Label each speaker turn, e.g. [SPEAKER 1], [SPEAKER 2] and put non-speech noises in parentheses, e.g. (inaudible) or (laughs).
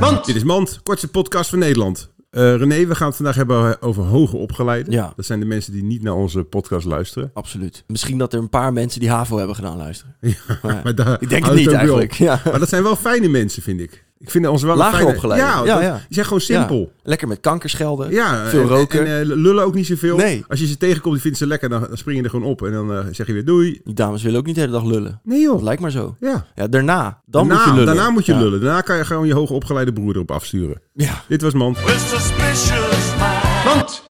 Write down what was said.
[SPEAKER 1] Mand!
[SPEAKER 2] Dit is Mand, kortste podcast van Nederland. Eh, René, we gaan het vandaag hebben over hoger opgeleiden.
[SPEAKER 1] Ja.
[SPEAKER 2] Dat zijn de mensen die niet naar onze podcast luisteren.
[SPEAKER 1] Absoluut. Misschien dat er een paar mensen die HAVO hebben gedaan luisteren. Maar
[SPEAKER 2] (laughs) Maar daar
[SPEAKER 1] ik denk het
[SPEAKER 2] houdt
[SPEAKER 1] niet
[SPEAKER 2] ook weer op.
[SPEAKER 1] eigenlijk. Ja.
[SPEAKER 2] Maar dat zijn wel fijne mensen, vind ik. Ik vind ons wel een
[SPEAKER 1] Lager
[SPEAKER 2] fijne...
[SPEAKER 1] opgeleid.
[SPEAKER 2] Ja,
[SPEAKER 1] Ja,
[SPEAKER 2] dat-
[SPEAKER 1] ja.
[SPEAKER 2] die zijn gewoon simpel.
[SPEAKER 1] Ja. Lekker met kanker schelden.
[SPEAKER 2] Ja,
[SPEAKER 1] Veel
[SPEAKER 2] en-
[SPEAKER 1] roken.
[SPEAKER 2] En, eh, lullen ook niet zoveel.
[SPEAKER 1] Nee.
[SPEAKER 2] Als je ze tegenkomt, die vinden ze lekker, dan, dan spring je er gewoon op. En dan eh, zeg je weer doei.
[SPEAKER 1] Die dames willen ook niet de hele dag lullen.
[SPEAKER 2] Nee
[SPEAKER 1] Dat
[SPEAKER 2] joh.
[SPEAKER 1] lijkt maar zo.
[SPEAKER 2] Ja.
[SPEAKER 1] Ja, daarna. Dan
[SPEAKER 2] daarna,
[SPEAKER 1] moet je lullen.
[SPEAKER 2] daarna moet je
[SPEAKER 1] Ja.
[SPEAKER 2] lullen. Daarna kan je gewoon je hoger opgeleide broer erop afsturen.
[SPEAKER 1] Ja.
[SPEAKER 2] Dit was Mand.
[SPEAKER 3] with suspicious minds.
[SPEAKER 1] Want